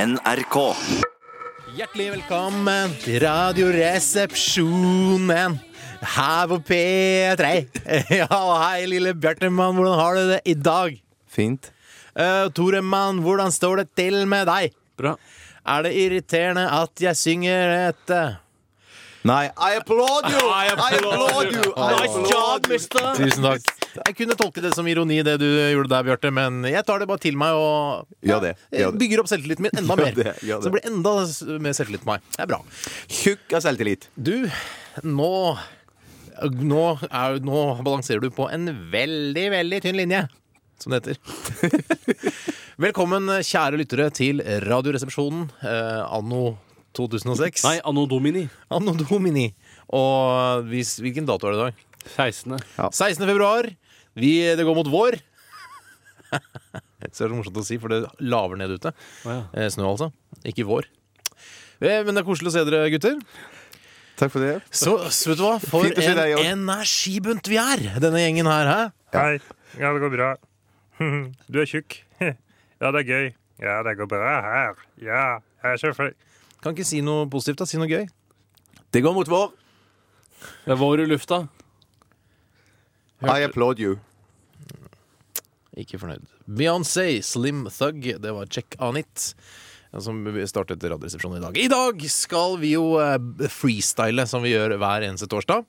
NRK. Hjertelig velkommen til Radioresepsjonen her på P3. Ja, og hei, lille Bjartemann, hvordan har du det i dag? Fint. Uh, Toremann, hvordan står det til med deg? Bra. Er det irriterende at jeg synger et eh, Nei, I applaud you! I applaud you! Nice job, mister! Tusen takk. Jeg kunne tolke det som ironi, det du gjorde der, Bjarte, men jeg tar det bare til meg og Gjør det, gjør det. bygger opp selvtilliten min enda Gjør mer. det, gjør det. Så det blir enda mer selvtillit på meg. Det er bra. Tjukk av selvtillit. Du, nå nå, er, nå balanserer du på en veldig, veldig tynn linje, som det heter. Velkommen, kjære lyttere, til Radioresepsjonen eh, anno 2006. Nei, Anno Domini. Anno domini. Og vi, hvilken dato er det i dag? 16. 16. februar. Vi, det går mot vår. Så det er så morsomt å si, for det laver ned ute. Å, ja. Eh, snø, altså. Ikke vår. Eh, Men det er koselig å se dere, gutter. Takk for det. Så, så vet du hva, for Fint å se en deg, Jon. energibunt vi er, denne gjengen her. Hæ? Hei. Ja, det går bra. Du er tjukk. Ja, det er gøy. Ja, det går bra her. Ja, jeg er så flink. Kan ikke si noe positivt, da. Si noe gøy. Det går mot vår. Det er vår i lufta. I applaud you. Ikke fornøyd. Beyoncé, Slim Thug, det var Check On It. Som startet Radioresepsjonen i dag. I dag skal vi jo eh, freestyle, som vi gjør hver eneste torsdag.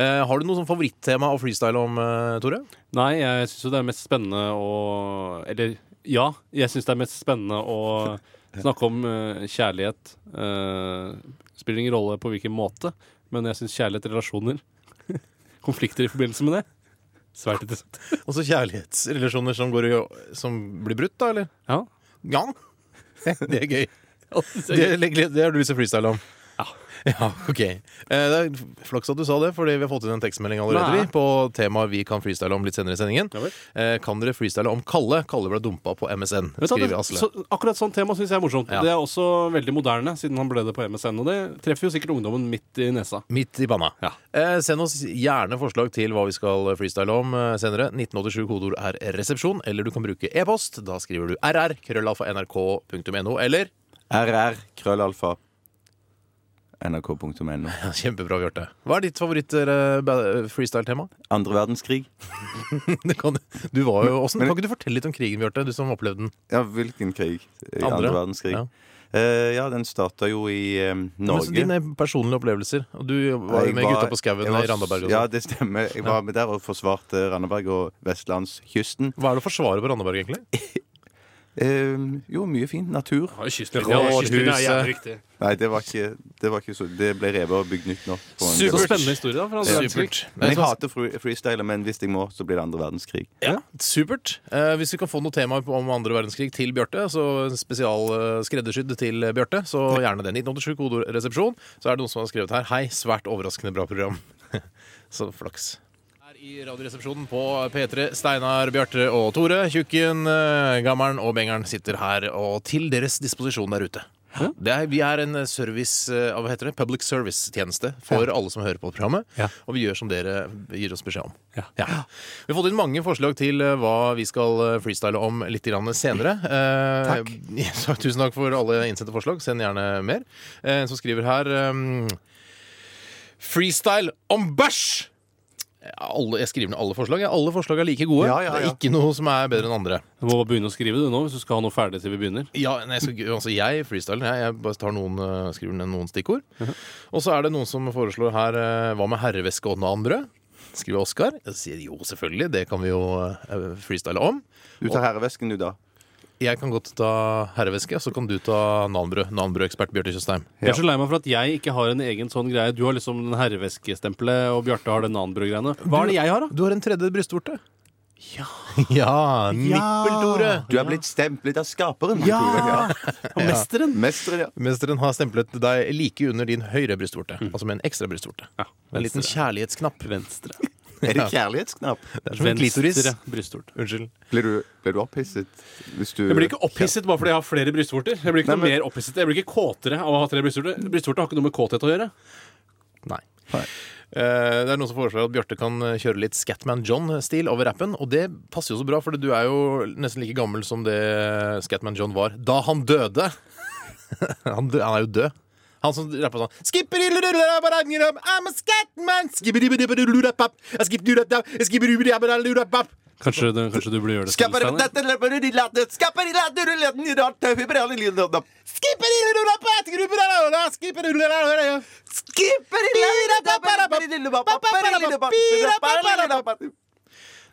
Eh, har du noe sånn favorittema å freestyle om, eh, Tore? Nei, jeg syns jo det er mest spennende å Eller ja, jeg syns det er mest spennende å snakke om eh, kjærlighet. Eh, spiller ingen rolle på hvilken måte, men jeg syns kjærlighet, relasjoner, konflikter i forbindelse med det Svært interessant. Også Altså kjærlighetsrelasjoner som, går i, som blir brutt, da, eller? Ja. Ja. Det er gøy. Det, Det- legger- det har du lyst til å freestyle om? Ja. Ja, ok eh, det er Flaks at du sa det, fordi vi har fått inn en tekstmelding allerede Nei. vi, på temaet vi kan freestyle om litt senere i sendingen. Ja vel. Eh, kan dere freestyle om Kalle? Kalle ble dumpa på MSN, Vet du hva, skriver det- Asle. sånn, så, akkurat sånn tema syns jeg er morsomt. Ja. Det er også veldig moderne, siden han ble det på MSN. Og det treffer jo sikkert ungdommen midt i nesa. Midt i panna. Ja. Eh, send oss gjerne forslag til hva vi skal freestyle om eh, senere. 1987 kodeord er resepsjon, eller du kan bruke e-post. Da skriver du rr, krøllalfa, nrk.no, eller RR, krøllalfa, nrk.no. Ja, Kjempebra, Bjarte. Hva er ditt eh, favoritt-freestyle-tema? Andre verdenskrig. Det kan, du var jo, åssen- kan ikke du fortelle litt om krigen, Bjarte? Du som opplevde den. Ja, hvilken krig? Eh, Andre? Andre verdenskrig. Ja. Eh, ja, den starta jo i eh, Men så Norge. Dine personlige opplevelser. Og du var Jeg jo med var- gutta på skauen jeg var- i Randaberg. og Ja, sånn. det stemmer. Jeg var med der og forsvarte Randaberg og vestlandskysten. Hva er det å forsvare på Randaberg, egentlig? Eh, jo, mye fint. Natur. Ja, kystlinja, Rådhuset. kystlinja er jævlig riktig. Nei, det var ikke, det var ikke så Det ble revet og bygd nytt nå. på en- Så spennende historie, da. Fra andre verdenskrig. Men jeg Supert. hater fru- freestyler, men hvis jeg må, så blir det andre verdenskrig. Ja, supert. Eh, hvis vi kan få noe tema om andre verdenskrig til Bjarte, så en spesial eh, skreddersydd til Bjarte, så gjerne det. 1987 kodeord resepsjon. Så er det noen som har skrevet her. Hei, svært overraskende bra program. så flaks. Her i Radioresepsjonen på P3, Steinar, Bjarte og Tore. Tjukken, eh, Gammelen og Bengeren sitter her og til deres disposisjon der ute. Det er, vi er en service, eh, hva heter det? public service-tjeneste for alle som hører på programmet. Ja. Og vi gjør som dere gir oss beskjed om. Ja. Ja. Vi har fått inn mange forslag til eh, hva vi skal eh, freestyle om litt grann senere. Eh, så tusen takk for alle innsendte forslag. Send gjerne mer. Eh, En som skriver her ehm, Freestyle om bæsj! Ja, Alle, jeg skriver ned alle forslag. ja. Alle forslag er like gode. Ja, ja, Det ja. er ikke noe som er bedre enn andre. Du må bare begynne å skrive du nå, hvis du skal ha noe ferdig til vi begynner. Ja, nei, så, altså jeg freestyler. Jeg, jeg bare tar noen, eh, skriver ned noen stikkord. Og så er det noen som foreslår her eh, Hva med herreveske og nanbrød? Skriver Oskar. Jeg sier jo, selvfølgelig. Det kan vi jo eh, freestyle om. Du tar herrevesken, du, da. Jeg kan godt ta herreveske, og så kan du ta nanbrød. Nanbrødekspert Bjarte Tjøstheim. Jeg er så lei meg for at jeg ikke har en egen sånn greie. Du har liksom den herreveskestempelet, og Bjarte har den nanbrød-greiene. Hva er det jeg har, da? Du har en tredje brystvorte. Ja. ja Nippeltore. Du er blitt stemplet av skaperen. Tore, Ja! ja. Mesteren. Mesteren, ja. Mesteren har stemplet deg like under din høyre brystvorte. Altså med en ekstra brystvorte. Ja, En liten venstre. kjærlighetsknapp. Venstre. Er det kjærlighetsknapp? Det er som en klitoris. Venstre brystort. Unnskyld. Ble du, ble du opphisset hvis du Jeg blir ikke opphisset bare fordi jeg har flere brystvorter. Jeg blir ikke Nei, men- noe mer opphisset Jeg blir ikke kåtere av å ha tre brystvorter. Brystvorter har ikke noe med kåthet å gjøre. Nei. Nei. Eh, det er Noen som foreslår at Bjarte kan kjøre litt Scatman John-stil over rappen. Og det passer jo så bra, for du er jo nesten like gammel som det Scatman John var da han døde. Han, dø, han er jo død. Han som rappa sånn Skipperillerullerabaragnirab, I'm a scatman! Skipperibberibberullerapap, I skip do that now, I skipperibberibberullerapap. Kanskje, du- kanskje du burde gjøre det selv, Steinar? Skipperillerullerapatgrupperalala, skipperulleralala.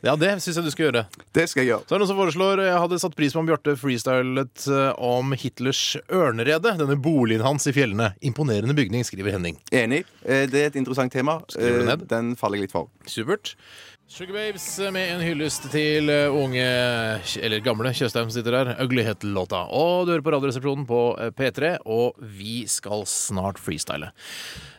Ja, det syns jeg du skal gjøre. Det skal jeg gjøre. Så er det noen som foreslår eh, Jeg hadde satt pris på om Bjarte freestylet eh, om Hitlers ørnerede. Denne boligen hans i fjellene. Imponerende bygning, skriver Henning. Enig. Eh, Det er et interessant tema. Skriver du Eh, ned? Den faller jeg litt for. Supert. Sugar Babes eh, med en hyllest til eh, unge, eller gamle, Tjøstheim som sitter der. Uglyhet-låta. Og du hører på Radioresepsjonen på eh, P3, og vi skal snart freestyle.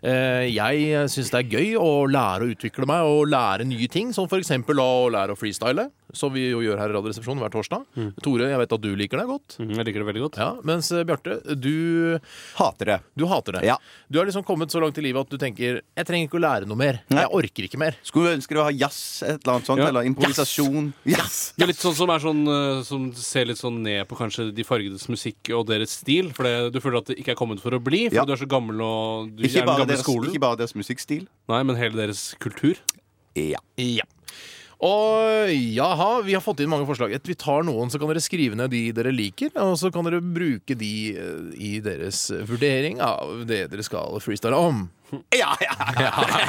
Eh, Jeg syns det er gøy å lære å utvikle meg og lære nye ting, som f.eks. å lære å freestyle, som vi jo gjør her i Radioresepsjonen hver torsdag. Tore, jeg vet at du liker det godt. Mhm, Jeg liker det veldig godt. Ja, Mens eh, Bjarte, du, Hater det. du hater det. Ja. Du har liksom kommet så langt i livet at du tenker 'jeg trenger ikke å lære noe mer'. Nei. Jeg orker ikke mer. Skulle ønske det var jazz, et eller annet sånt. Ja. Eller improvisasjon. Jazz! Det er litt sånn som, er sånn eh, som ser litt sånn ned på kanskje de fargedes musikk og deres stil. For det, du føler at det ikke er kommet for å bli, for Ja. du er så gammel og du Ikke er den bare, gamle deres, skolen. ikke bare deres musikkstil. Nei, men hele deres kultur. Ja. Ja. Og jaha, vi har fått inn mange forslag. Et- Vi tar noen, så kan dere skrive ned de dere liker. Og så kan dere bruke de eh, i deres vurdering av det dere skal freestyle om. Ja, ja,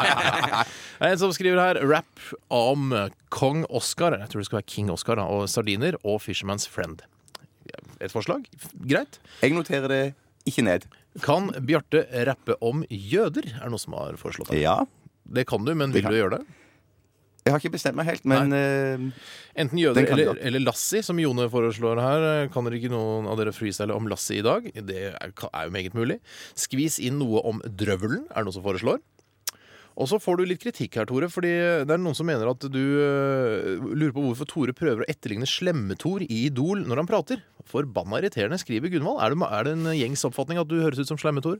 Det er En som skriver her rap om kong Oscar. Jeg tror det skal være King Oscar da, og sardiner og Fisherman's Friend. Et forslag? Greit. Jeg noterer det ikke ned. Kan Bjarte rappe om jøder? Er det noen som har foreslått det? Ja. Det kan du, men vil du gjøre det? Jeg har ikke bestemt meg helt, men eh, Enten Den jøder kan eller, du eller Lassi, som Jone foreslår her. Kan dere ikke noen av dere freestyle om Lassi i dag? Det er er jo meget mulig. Skvis inn noe om drøvelen, er det noen som foreslår. Og så får du litt kritikk her, Tore, fordi det er noen som mener at du øh, lurer på hvorfor Tore prøver å etterligne Slemme-Tor i Idol når han prater. Forbanna irriterende, skriver Gunvald. Er det, er det en gjengs oppfatning at du høres ut som Slemme-Tor?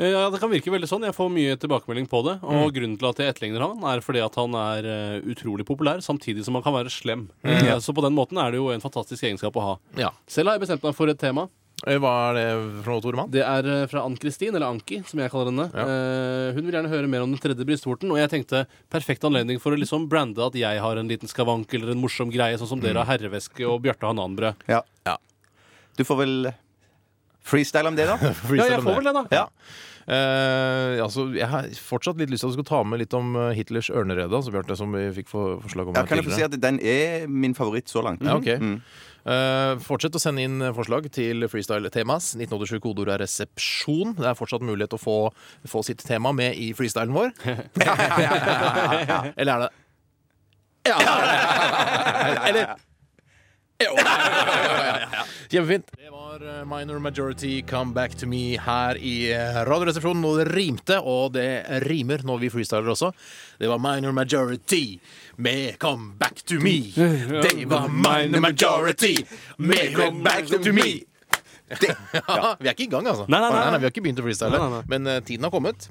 Eh, Ja, Det kan virke veldig sånn. Jeg får mye tilbakemelding på det. Mm. Og grunnen til at jeg etterligner han, er fordi at han er eh, utrolig populær, samtidig som han kan være slem. Mm. Eh, Så på den måten er det jo en fantastisk egenskap å ha. Ja. Selv har jeg bestemt meg for et tema. Eh, Hva er det for noe, Tore Mann? Det er eh, fra Ann-Kristin, eller Anki, som jeg kaller henne. Eh, hun vil gjerne høre mer om den tredje brystvorten, og jeg tenkte perfekt anledning for å liksom brande at jeg har en liten skavank eller en morsom greie, sånn som dere har herreveske og Bjarte har nanbrød. ja. Ja. Du får vel freestyle om det, da. Ja, Freestyle jeg om det. får vel det, da. Ja. Eh, altså, jeg har fortsatt litt lyst til at du skal ta med litt om eh, Hitlers ørnerede, altså, Bjarte, som vi fikk for, forslag om Ja, her kan jeg få si tidligere. at Mm. den er min favoritt så langt? Ja, ok. Eh, fortsett å sende inn forslag til Freestyle Temas. 1987 kodeord er resepsjon. Det er fortsatt mulighet til å få, få sitt tema med i freestylen vår. Eller er det Ja! Eller Jo. Kjempefint. Det var eh, Minor Majority Come Back To Me her i eh, Radioresepsjonen. Og det rimte, og det rimer når vi freestyler også. Det var Minor Majority med Come Back To Me. Det var Minor Majority med Come Back To Me. Ja, vi er ikke i gang, altså. Nei, nei, nei, nei. Vi har ikke begynt å freestyle, Nei, nei, nei. men eh, tiden har kommet.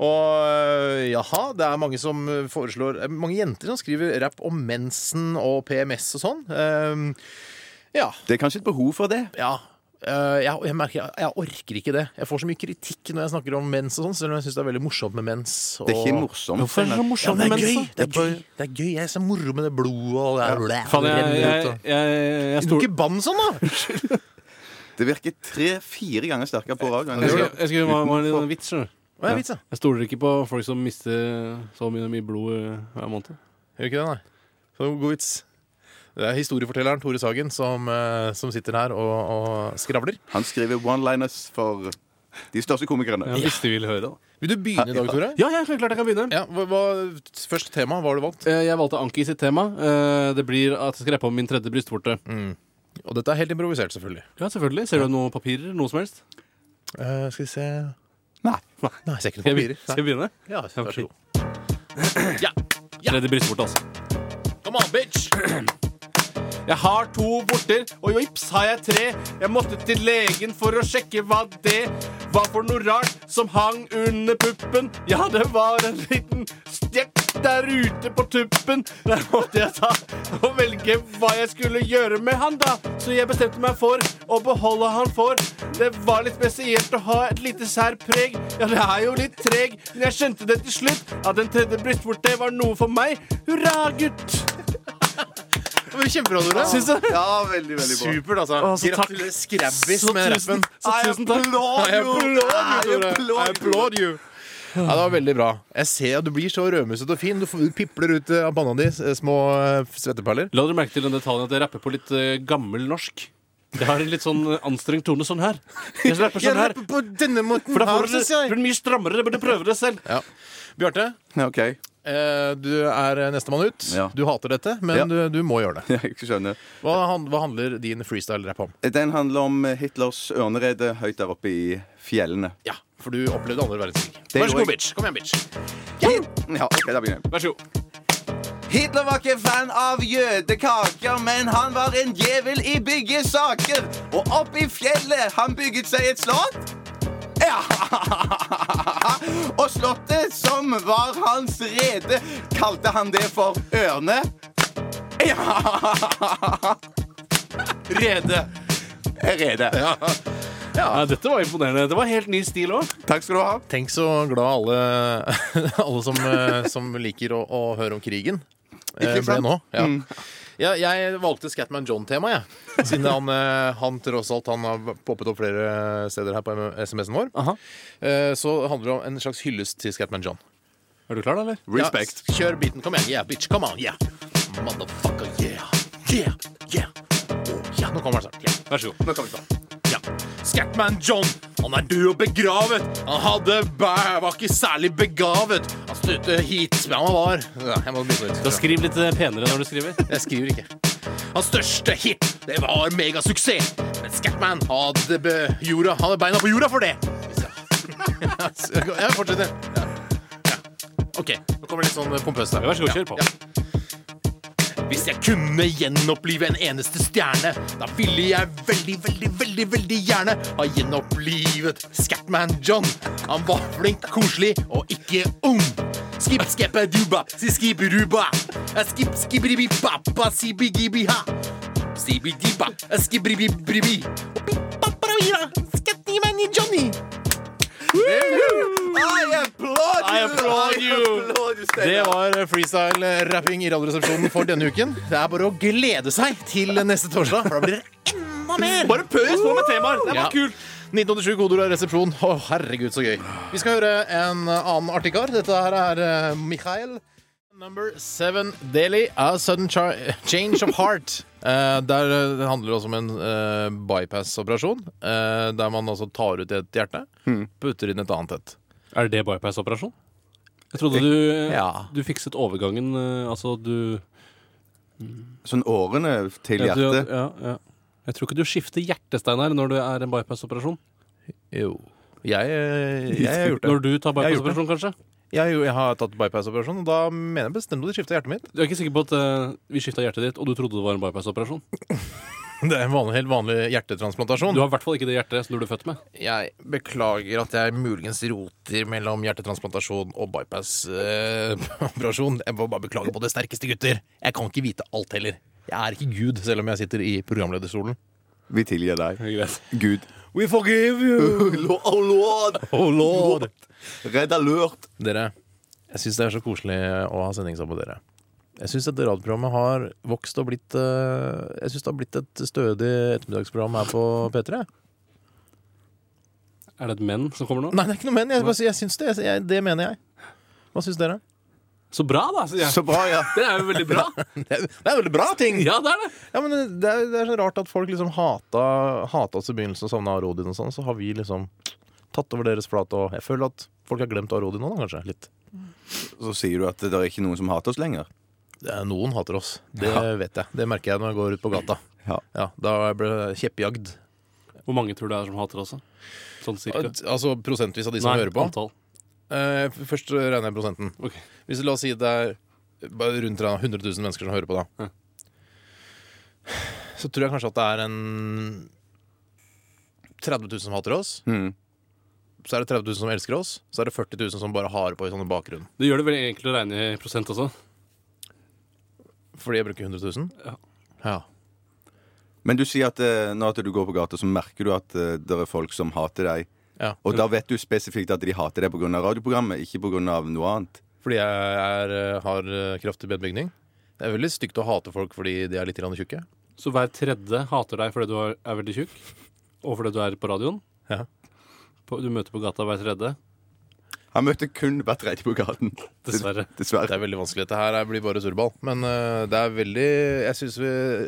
Og øh, jaha, det er mange som øh, foreslår eh, Mange jenter som skriver rapp om mensen og PMS og sånn. Ehm, ja. Det er kanskje et behov for det. ja. Eh, jeg, jeg merker jeg, jeg orker ikke det. Jeg får så mye kritikk når jeg snakker om mens og sånn, selv om jeg syns det er veldig morsomt med mens. Og... Det er ikke morsomt. Hvorfor er det så Ja, morsomt men med det er gøy! mensen? Det er gøy, det er gøy. Jeg er så moro med det blodet og det er Faen, jeg, renner ut, jeg, og- jeg, jeg, Du stol- Ikke bann sånn, da! Det virker tre-fire ganger sterkere på radioen. jeg skulle jeg skulle gjøre meg en vits, skjønner du. Hva er vitsen? Jeg stoler ikke på folk som mister så mye, mye blod eh, hver måned. Gjør ikke det, nei. Så god vits. Det er historiefortelleren Tore Sagen som, eh, som sitter her og, og skravler. Han skriver one-liners for de største komikerne. Ja, hvis de vil høre, da. Vil du begynne i dag, Tore? Ja, jeg er klart jeg kan begynne. Ja, hva, hva, Først tema. Hva har du valgt? Eh, Jeg valgte Anki sitt tema. Eh, Det blir at jeg skal rappe om min tredje brystvorte. Og dette er helt improvisert, selvfølgelig. Ja, selvfølgelig. Ser du noen papirer? Noe som helst? Eh, skal vi se Nei. Nei, ser ikke noen Skal jeg, papirer. skal jeg begynne? Nei. Ja, vær så Ok. god. Ja. Ja. Tredje brystvorte, altså. Come on, bitch! Jeg har to vorter, og jo ips har jeg tre. Jeg måtte til legen for å sjekke hva det Hva for noe rart som hang under puppen? Ja, det var en liten stjekk der ute på tuppen. Der måtte jeg ta og velge hva jeg skulle gjøre med han, da. Så jeg bestemte meg for å beholde han for. Det var litt spesielt å ha et lite særpreg. Ja, det er jo litt treg, men jeg skjønte det til slutt. At en tredje brystvorte var noe for meg. Hurra, gutt! Det var Kjempebra, Nora. Syns du? Ja, veldig, veldig bra. Supert, altså. Å, så takk. Gratulerer Skrabbis Så med tusen- rappen. så tusen takk. I applaud I you, Tore. I applaud you. applaud you. Ja, Det var veldig bra. Jeg ser at Du blir så rødmusete og fin. Du får- du pipler ut eh, av panna di eh, små eh, svetteperler. La dere merke til den detaljen at jeg rapper på litt eh, gammel norsk. Jeg har en litt sånn eh, anstrengt tone sånn her. Jeg rapper sånn her. på denne måten For da får dere blir det mye strammere. Dere burde prøve det selv. Ja. Bjarte, Ja, OK. eh, du er nestemann ut. Ja. Du hater dette, men Ja. du, du må gjøre det. Jeg skjønner. Hva, han, hva handler din freestyle-rapp om? Den handler om eh, Hitlers ørnerede høyt der oppe i fjellene. Ja, For du opplevde andre verdenskrig. Det Vær gjorde så jeg. god, bitch. Kom igjen, bitch. Ja, ok, da begynner jeg. Vær så god. Hitler var ikke fan av jødekaker, men han var en djevel i byggesaker. Og opp i fjellet han bygget seg et slott. Ja. Og slottet som var hans rede, kalte han det for Ørne. Ja. Rede. Rede. Ja, dette var imponerende. Det var helt ny stil òg. Takk skal du ha. Tenk så glad alle, alle som, eh, som liker å, å høre om krigen, eh, Ikke ble sant? Mm. nå. Ja. Ja, jeg valgte Scatman John-temaet, jeg. Siden han, eh, han tross alt han har poppet opp flere steder her på SMS-en vår. Eh, Så handler det om en slags hyllest til Scatman John. Er du klar, da, eller? Respect. Ja, kjør beaten. Kom igjen. Yeah, bitch. Come on. Yeah. Motherfucker. Yeah. Yeah. Yeah. Oh, ja, nå kommer den snart. Yeah. Vær så god. Nå kommer vi snart. Ja. Scatman John, han er død og begravet. Han hadde bæ, var ikke særlig begavet. Han støtte hit, men han var ja, Jeg må bytte Da ut. skriv litt eh, penere når du skriver. Jeg skriver ikke. Hans største hit, det var megasuksess. Men Scatman hadde be jorda, han hadde beina på jorda for det. Jeg fortsetter. Ja. Ja. OK. Nå kommer det litt sånn pompøst her. Ja, vær så god, kjør på. Hvis jeg kunne gjenopplive en eneste stjerne, da ville jeg veldig, veldig, veldig veldig gjerne ha gjenopplivet Scatman John. Han var flink, koselig og ikke ung. Skip, skeppe, duba, si skip, ruba. Skip, skibribi, pappa, sibigibi, ha. Sibidiba, skibribi, bribi. Scatman Johnny. I applaud you! I applaud you. applaud you, Steinar. Det var freestyle-rapping i Radioresepsjonen for denne uken. Det er bare å glede seg til neste torsdag, for da blir det enda mer! Bare pøs på med temaer. Det var Ja. kult. 1987 kodeord er resepsjon. Å, herregud, så gøy. Vi skal høre en annen artig kar. Dette her er eh, Mikhail. Number seven Daily, A Sudden char Change of Heart. Eh, der eh, det handler også om en eh, bypass-operasjon. eh, der man altså tar ut et hjerte, Hmm. putter inn et annet et. Er det bypass-operasjon? Jeg trodde du, eh, Ja. du fikset overgangen. eh, Altså, du Sånn årene til Ja, du- hjertet. Ja, ja. Jeg tror ikke du skifter hjertestein her når du er en bypass-operasjon. Jo. Jeg, eh, jeg har gjort det. Når du tar Jeg har gjort bypass-operasjon, kanskje? Jeg, har jo- jeg har tatt bypass-operasjon, og da mener jeg bestemt at de skifta hjertet mitt. Du er ikke sikker på at eh, vi skifta hjertet ditt, og du trodde det var en bypass-operasjon? Det er en vanlig, helt vanlig hjertetransplantasjon. Du har i hvert fall ikke det hjertet som du ble født med. Jeg beklager at jeg muligens roter mellom hjertetransplantasjon og bypass-operasjon. jeg må bare beklage på det sterkeste, gutter. Jeg kan ikke vite alt heller. Jeg er ikke Gud, selv om jeg sitter i programlederstolen. Vi tilgir deg. Gud. We forgive you! Oh, lord. Oh lord! Redd alert. Dere, jeg syns det er så koselig å ha sending sammen med dere. Jeg syns dette radioprogrammet har vokst og blitt eh, Jeg syns det har blitt et stødig ettermiddagsprogram her på P3. Er det et menn som kommer nå? Nei, det er ikke noe men. Jeg, bare sier- jeg syns det. Jeg, det mener jeg. Hva syns dere? Så bra, da! sier jeg. Så bra, ja. Det er jo veldig bra. Det er, det er veldig bra ting! Ja, det er det. Ja, men det er, det er så rart at folk liksom hata, hata oss i begynnelsen og savna Arodin og sånn. Så har vi liksom tatt over deres flat, og jeg føler at folk har glemt Arodin nå, da, kanskje. Litt. Så sier du at det er ikke noen som hater oss lenger. Det er Noen hater oss. Det Ja. vet jeg. Det merker jeg når jeg går ut på gata. Ja. Da ble jeg kjeppjagd. Hvor mange tror du det er som hater også? Sånn cirka. Altså prosentvis av de som Nei, hører på. antall. Eh, først regner jeg prosenten. Ok. Hvis La oss si det er bare rundt 100 000 mennesker som hører på, da. Ja. Så tror jeg kanskje at det er en 30 000 som hater oss. Mm. så er det 30 000 som elsker oss, så er det 40 000 som bare har på i sånne bakgrunn. Det gjør det veldig enkelt å regne i prosent også. Fordi jeg bruker 100 000. Ja. Ja. Men du sier at eh, nå at du går på gata, så merker du at eh, det er folk som hater deg. Ja. Og da vet du spesifikt at de hater deg pga. radioprogrammet, ikke pga. noe annet. Fordi jeg er, har eh, kraftig bedbygning. Det er veldig stygt å hate folk fordi de er litt grann tjukke. Så hver tredje hater deg fordi du er er veldig tjukk, og fordi du er på radioen. Ja. På, du møter på gata hver tredje. Han møtte kun hver tredje på gaten. Dessverre. Det Dessverre. er veldig vanskelig. Dette her er- blir bare surrball. Men eh, det er veldig Jeg syns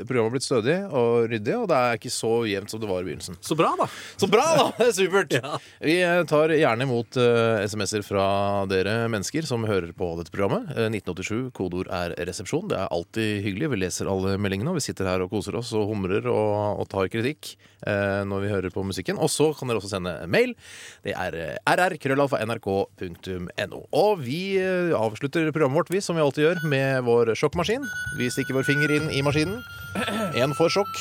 programmet har blitt stødig og ryddig, og det er ikke så jevnt som det var i begynnelsen. Så bra, da! Så bra, da! Det er supert! Vi eh, tar gjerne imot eh, SMS-er fra dere mennesker som hører på dette programmet. Eh, 1987, kodeord er resepsjon. Det er alltid hyggelig. Vi leser alle meldingene, og vi sitter her og koser oss og humrer og, og tar kritikk eh, når vi hører på musikken. Og så kan dere også sende mail. Det er eh, rr.krøllalfa.nrk.no. Og vi eh, avslutter programmet vårt, vi, som vi alltid gjør, med vår sjokkmaskin. Vi stikker vår finger inn i maskinen. Én får sjokk.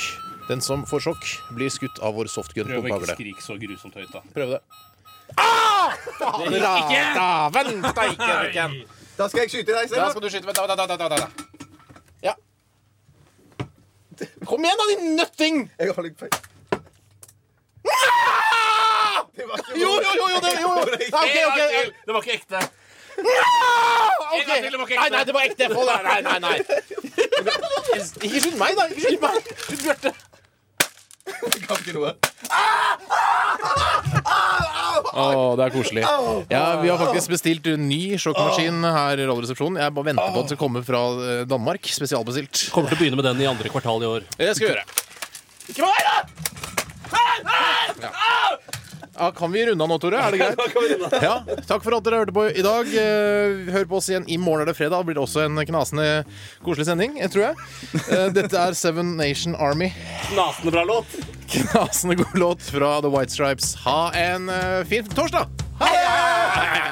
Den som får sjokk, blir skutt av vår softgun-pumpehagle. skrike så grusomt høyt, da. Prøv det. Ah! Faen, Daven steike røyken! Da skal jeg skyte deg Da selv. skal du skyte med da, da, da, da, da, da. Ja. Kom igjen, da, din nøtting! Jeg holder feil. Det var ikke Ah! Jo, jo, jo! jo, det, jo, jo. Nei, Ah, ok, ok, ok. Det var ikke ekte. gang til, det var ikke ekte. Nei, nei, det var ekte. Få det. Nei, nei, nei. Ikke skyt meg, da. Ikke skyt meg. Skyt Bjarte. jeg kan ikke noe. Å, det er koselig. Ja, Vi har faktisk bestilt en ny sjokkmaskin her i Radioresepsjonen. Jeg bare venter på at det skal komme fra eh, Danmark. Spesialbestilt. Kommer til å begynne med den i andre kvartal i år. Det skal vi gjøre. Ikke meg, da! Ja. Ja, kan vi runde av nå, Tore? Er det greit? Ja, takk for at dere hørte på i dag. Eh, Hør på oss igjen i morgen er det fredag. Da blir det også en knasende koselig sending, eh, tror jeg. Eh, Dette er Seven Nation Army. Knasende bra låt. Knasende god låt fra The White Stripes. Ha en eh, fin torsdag! Hei!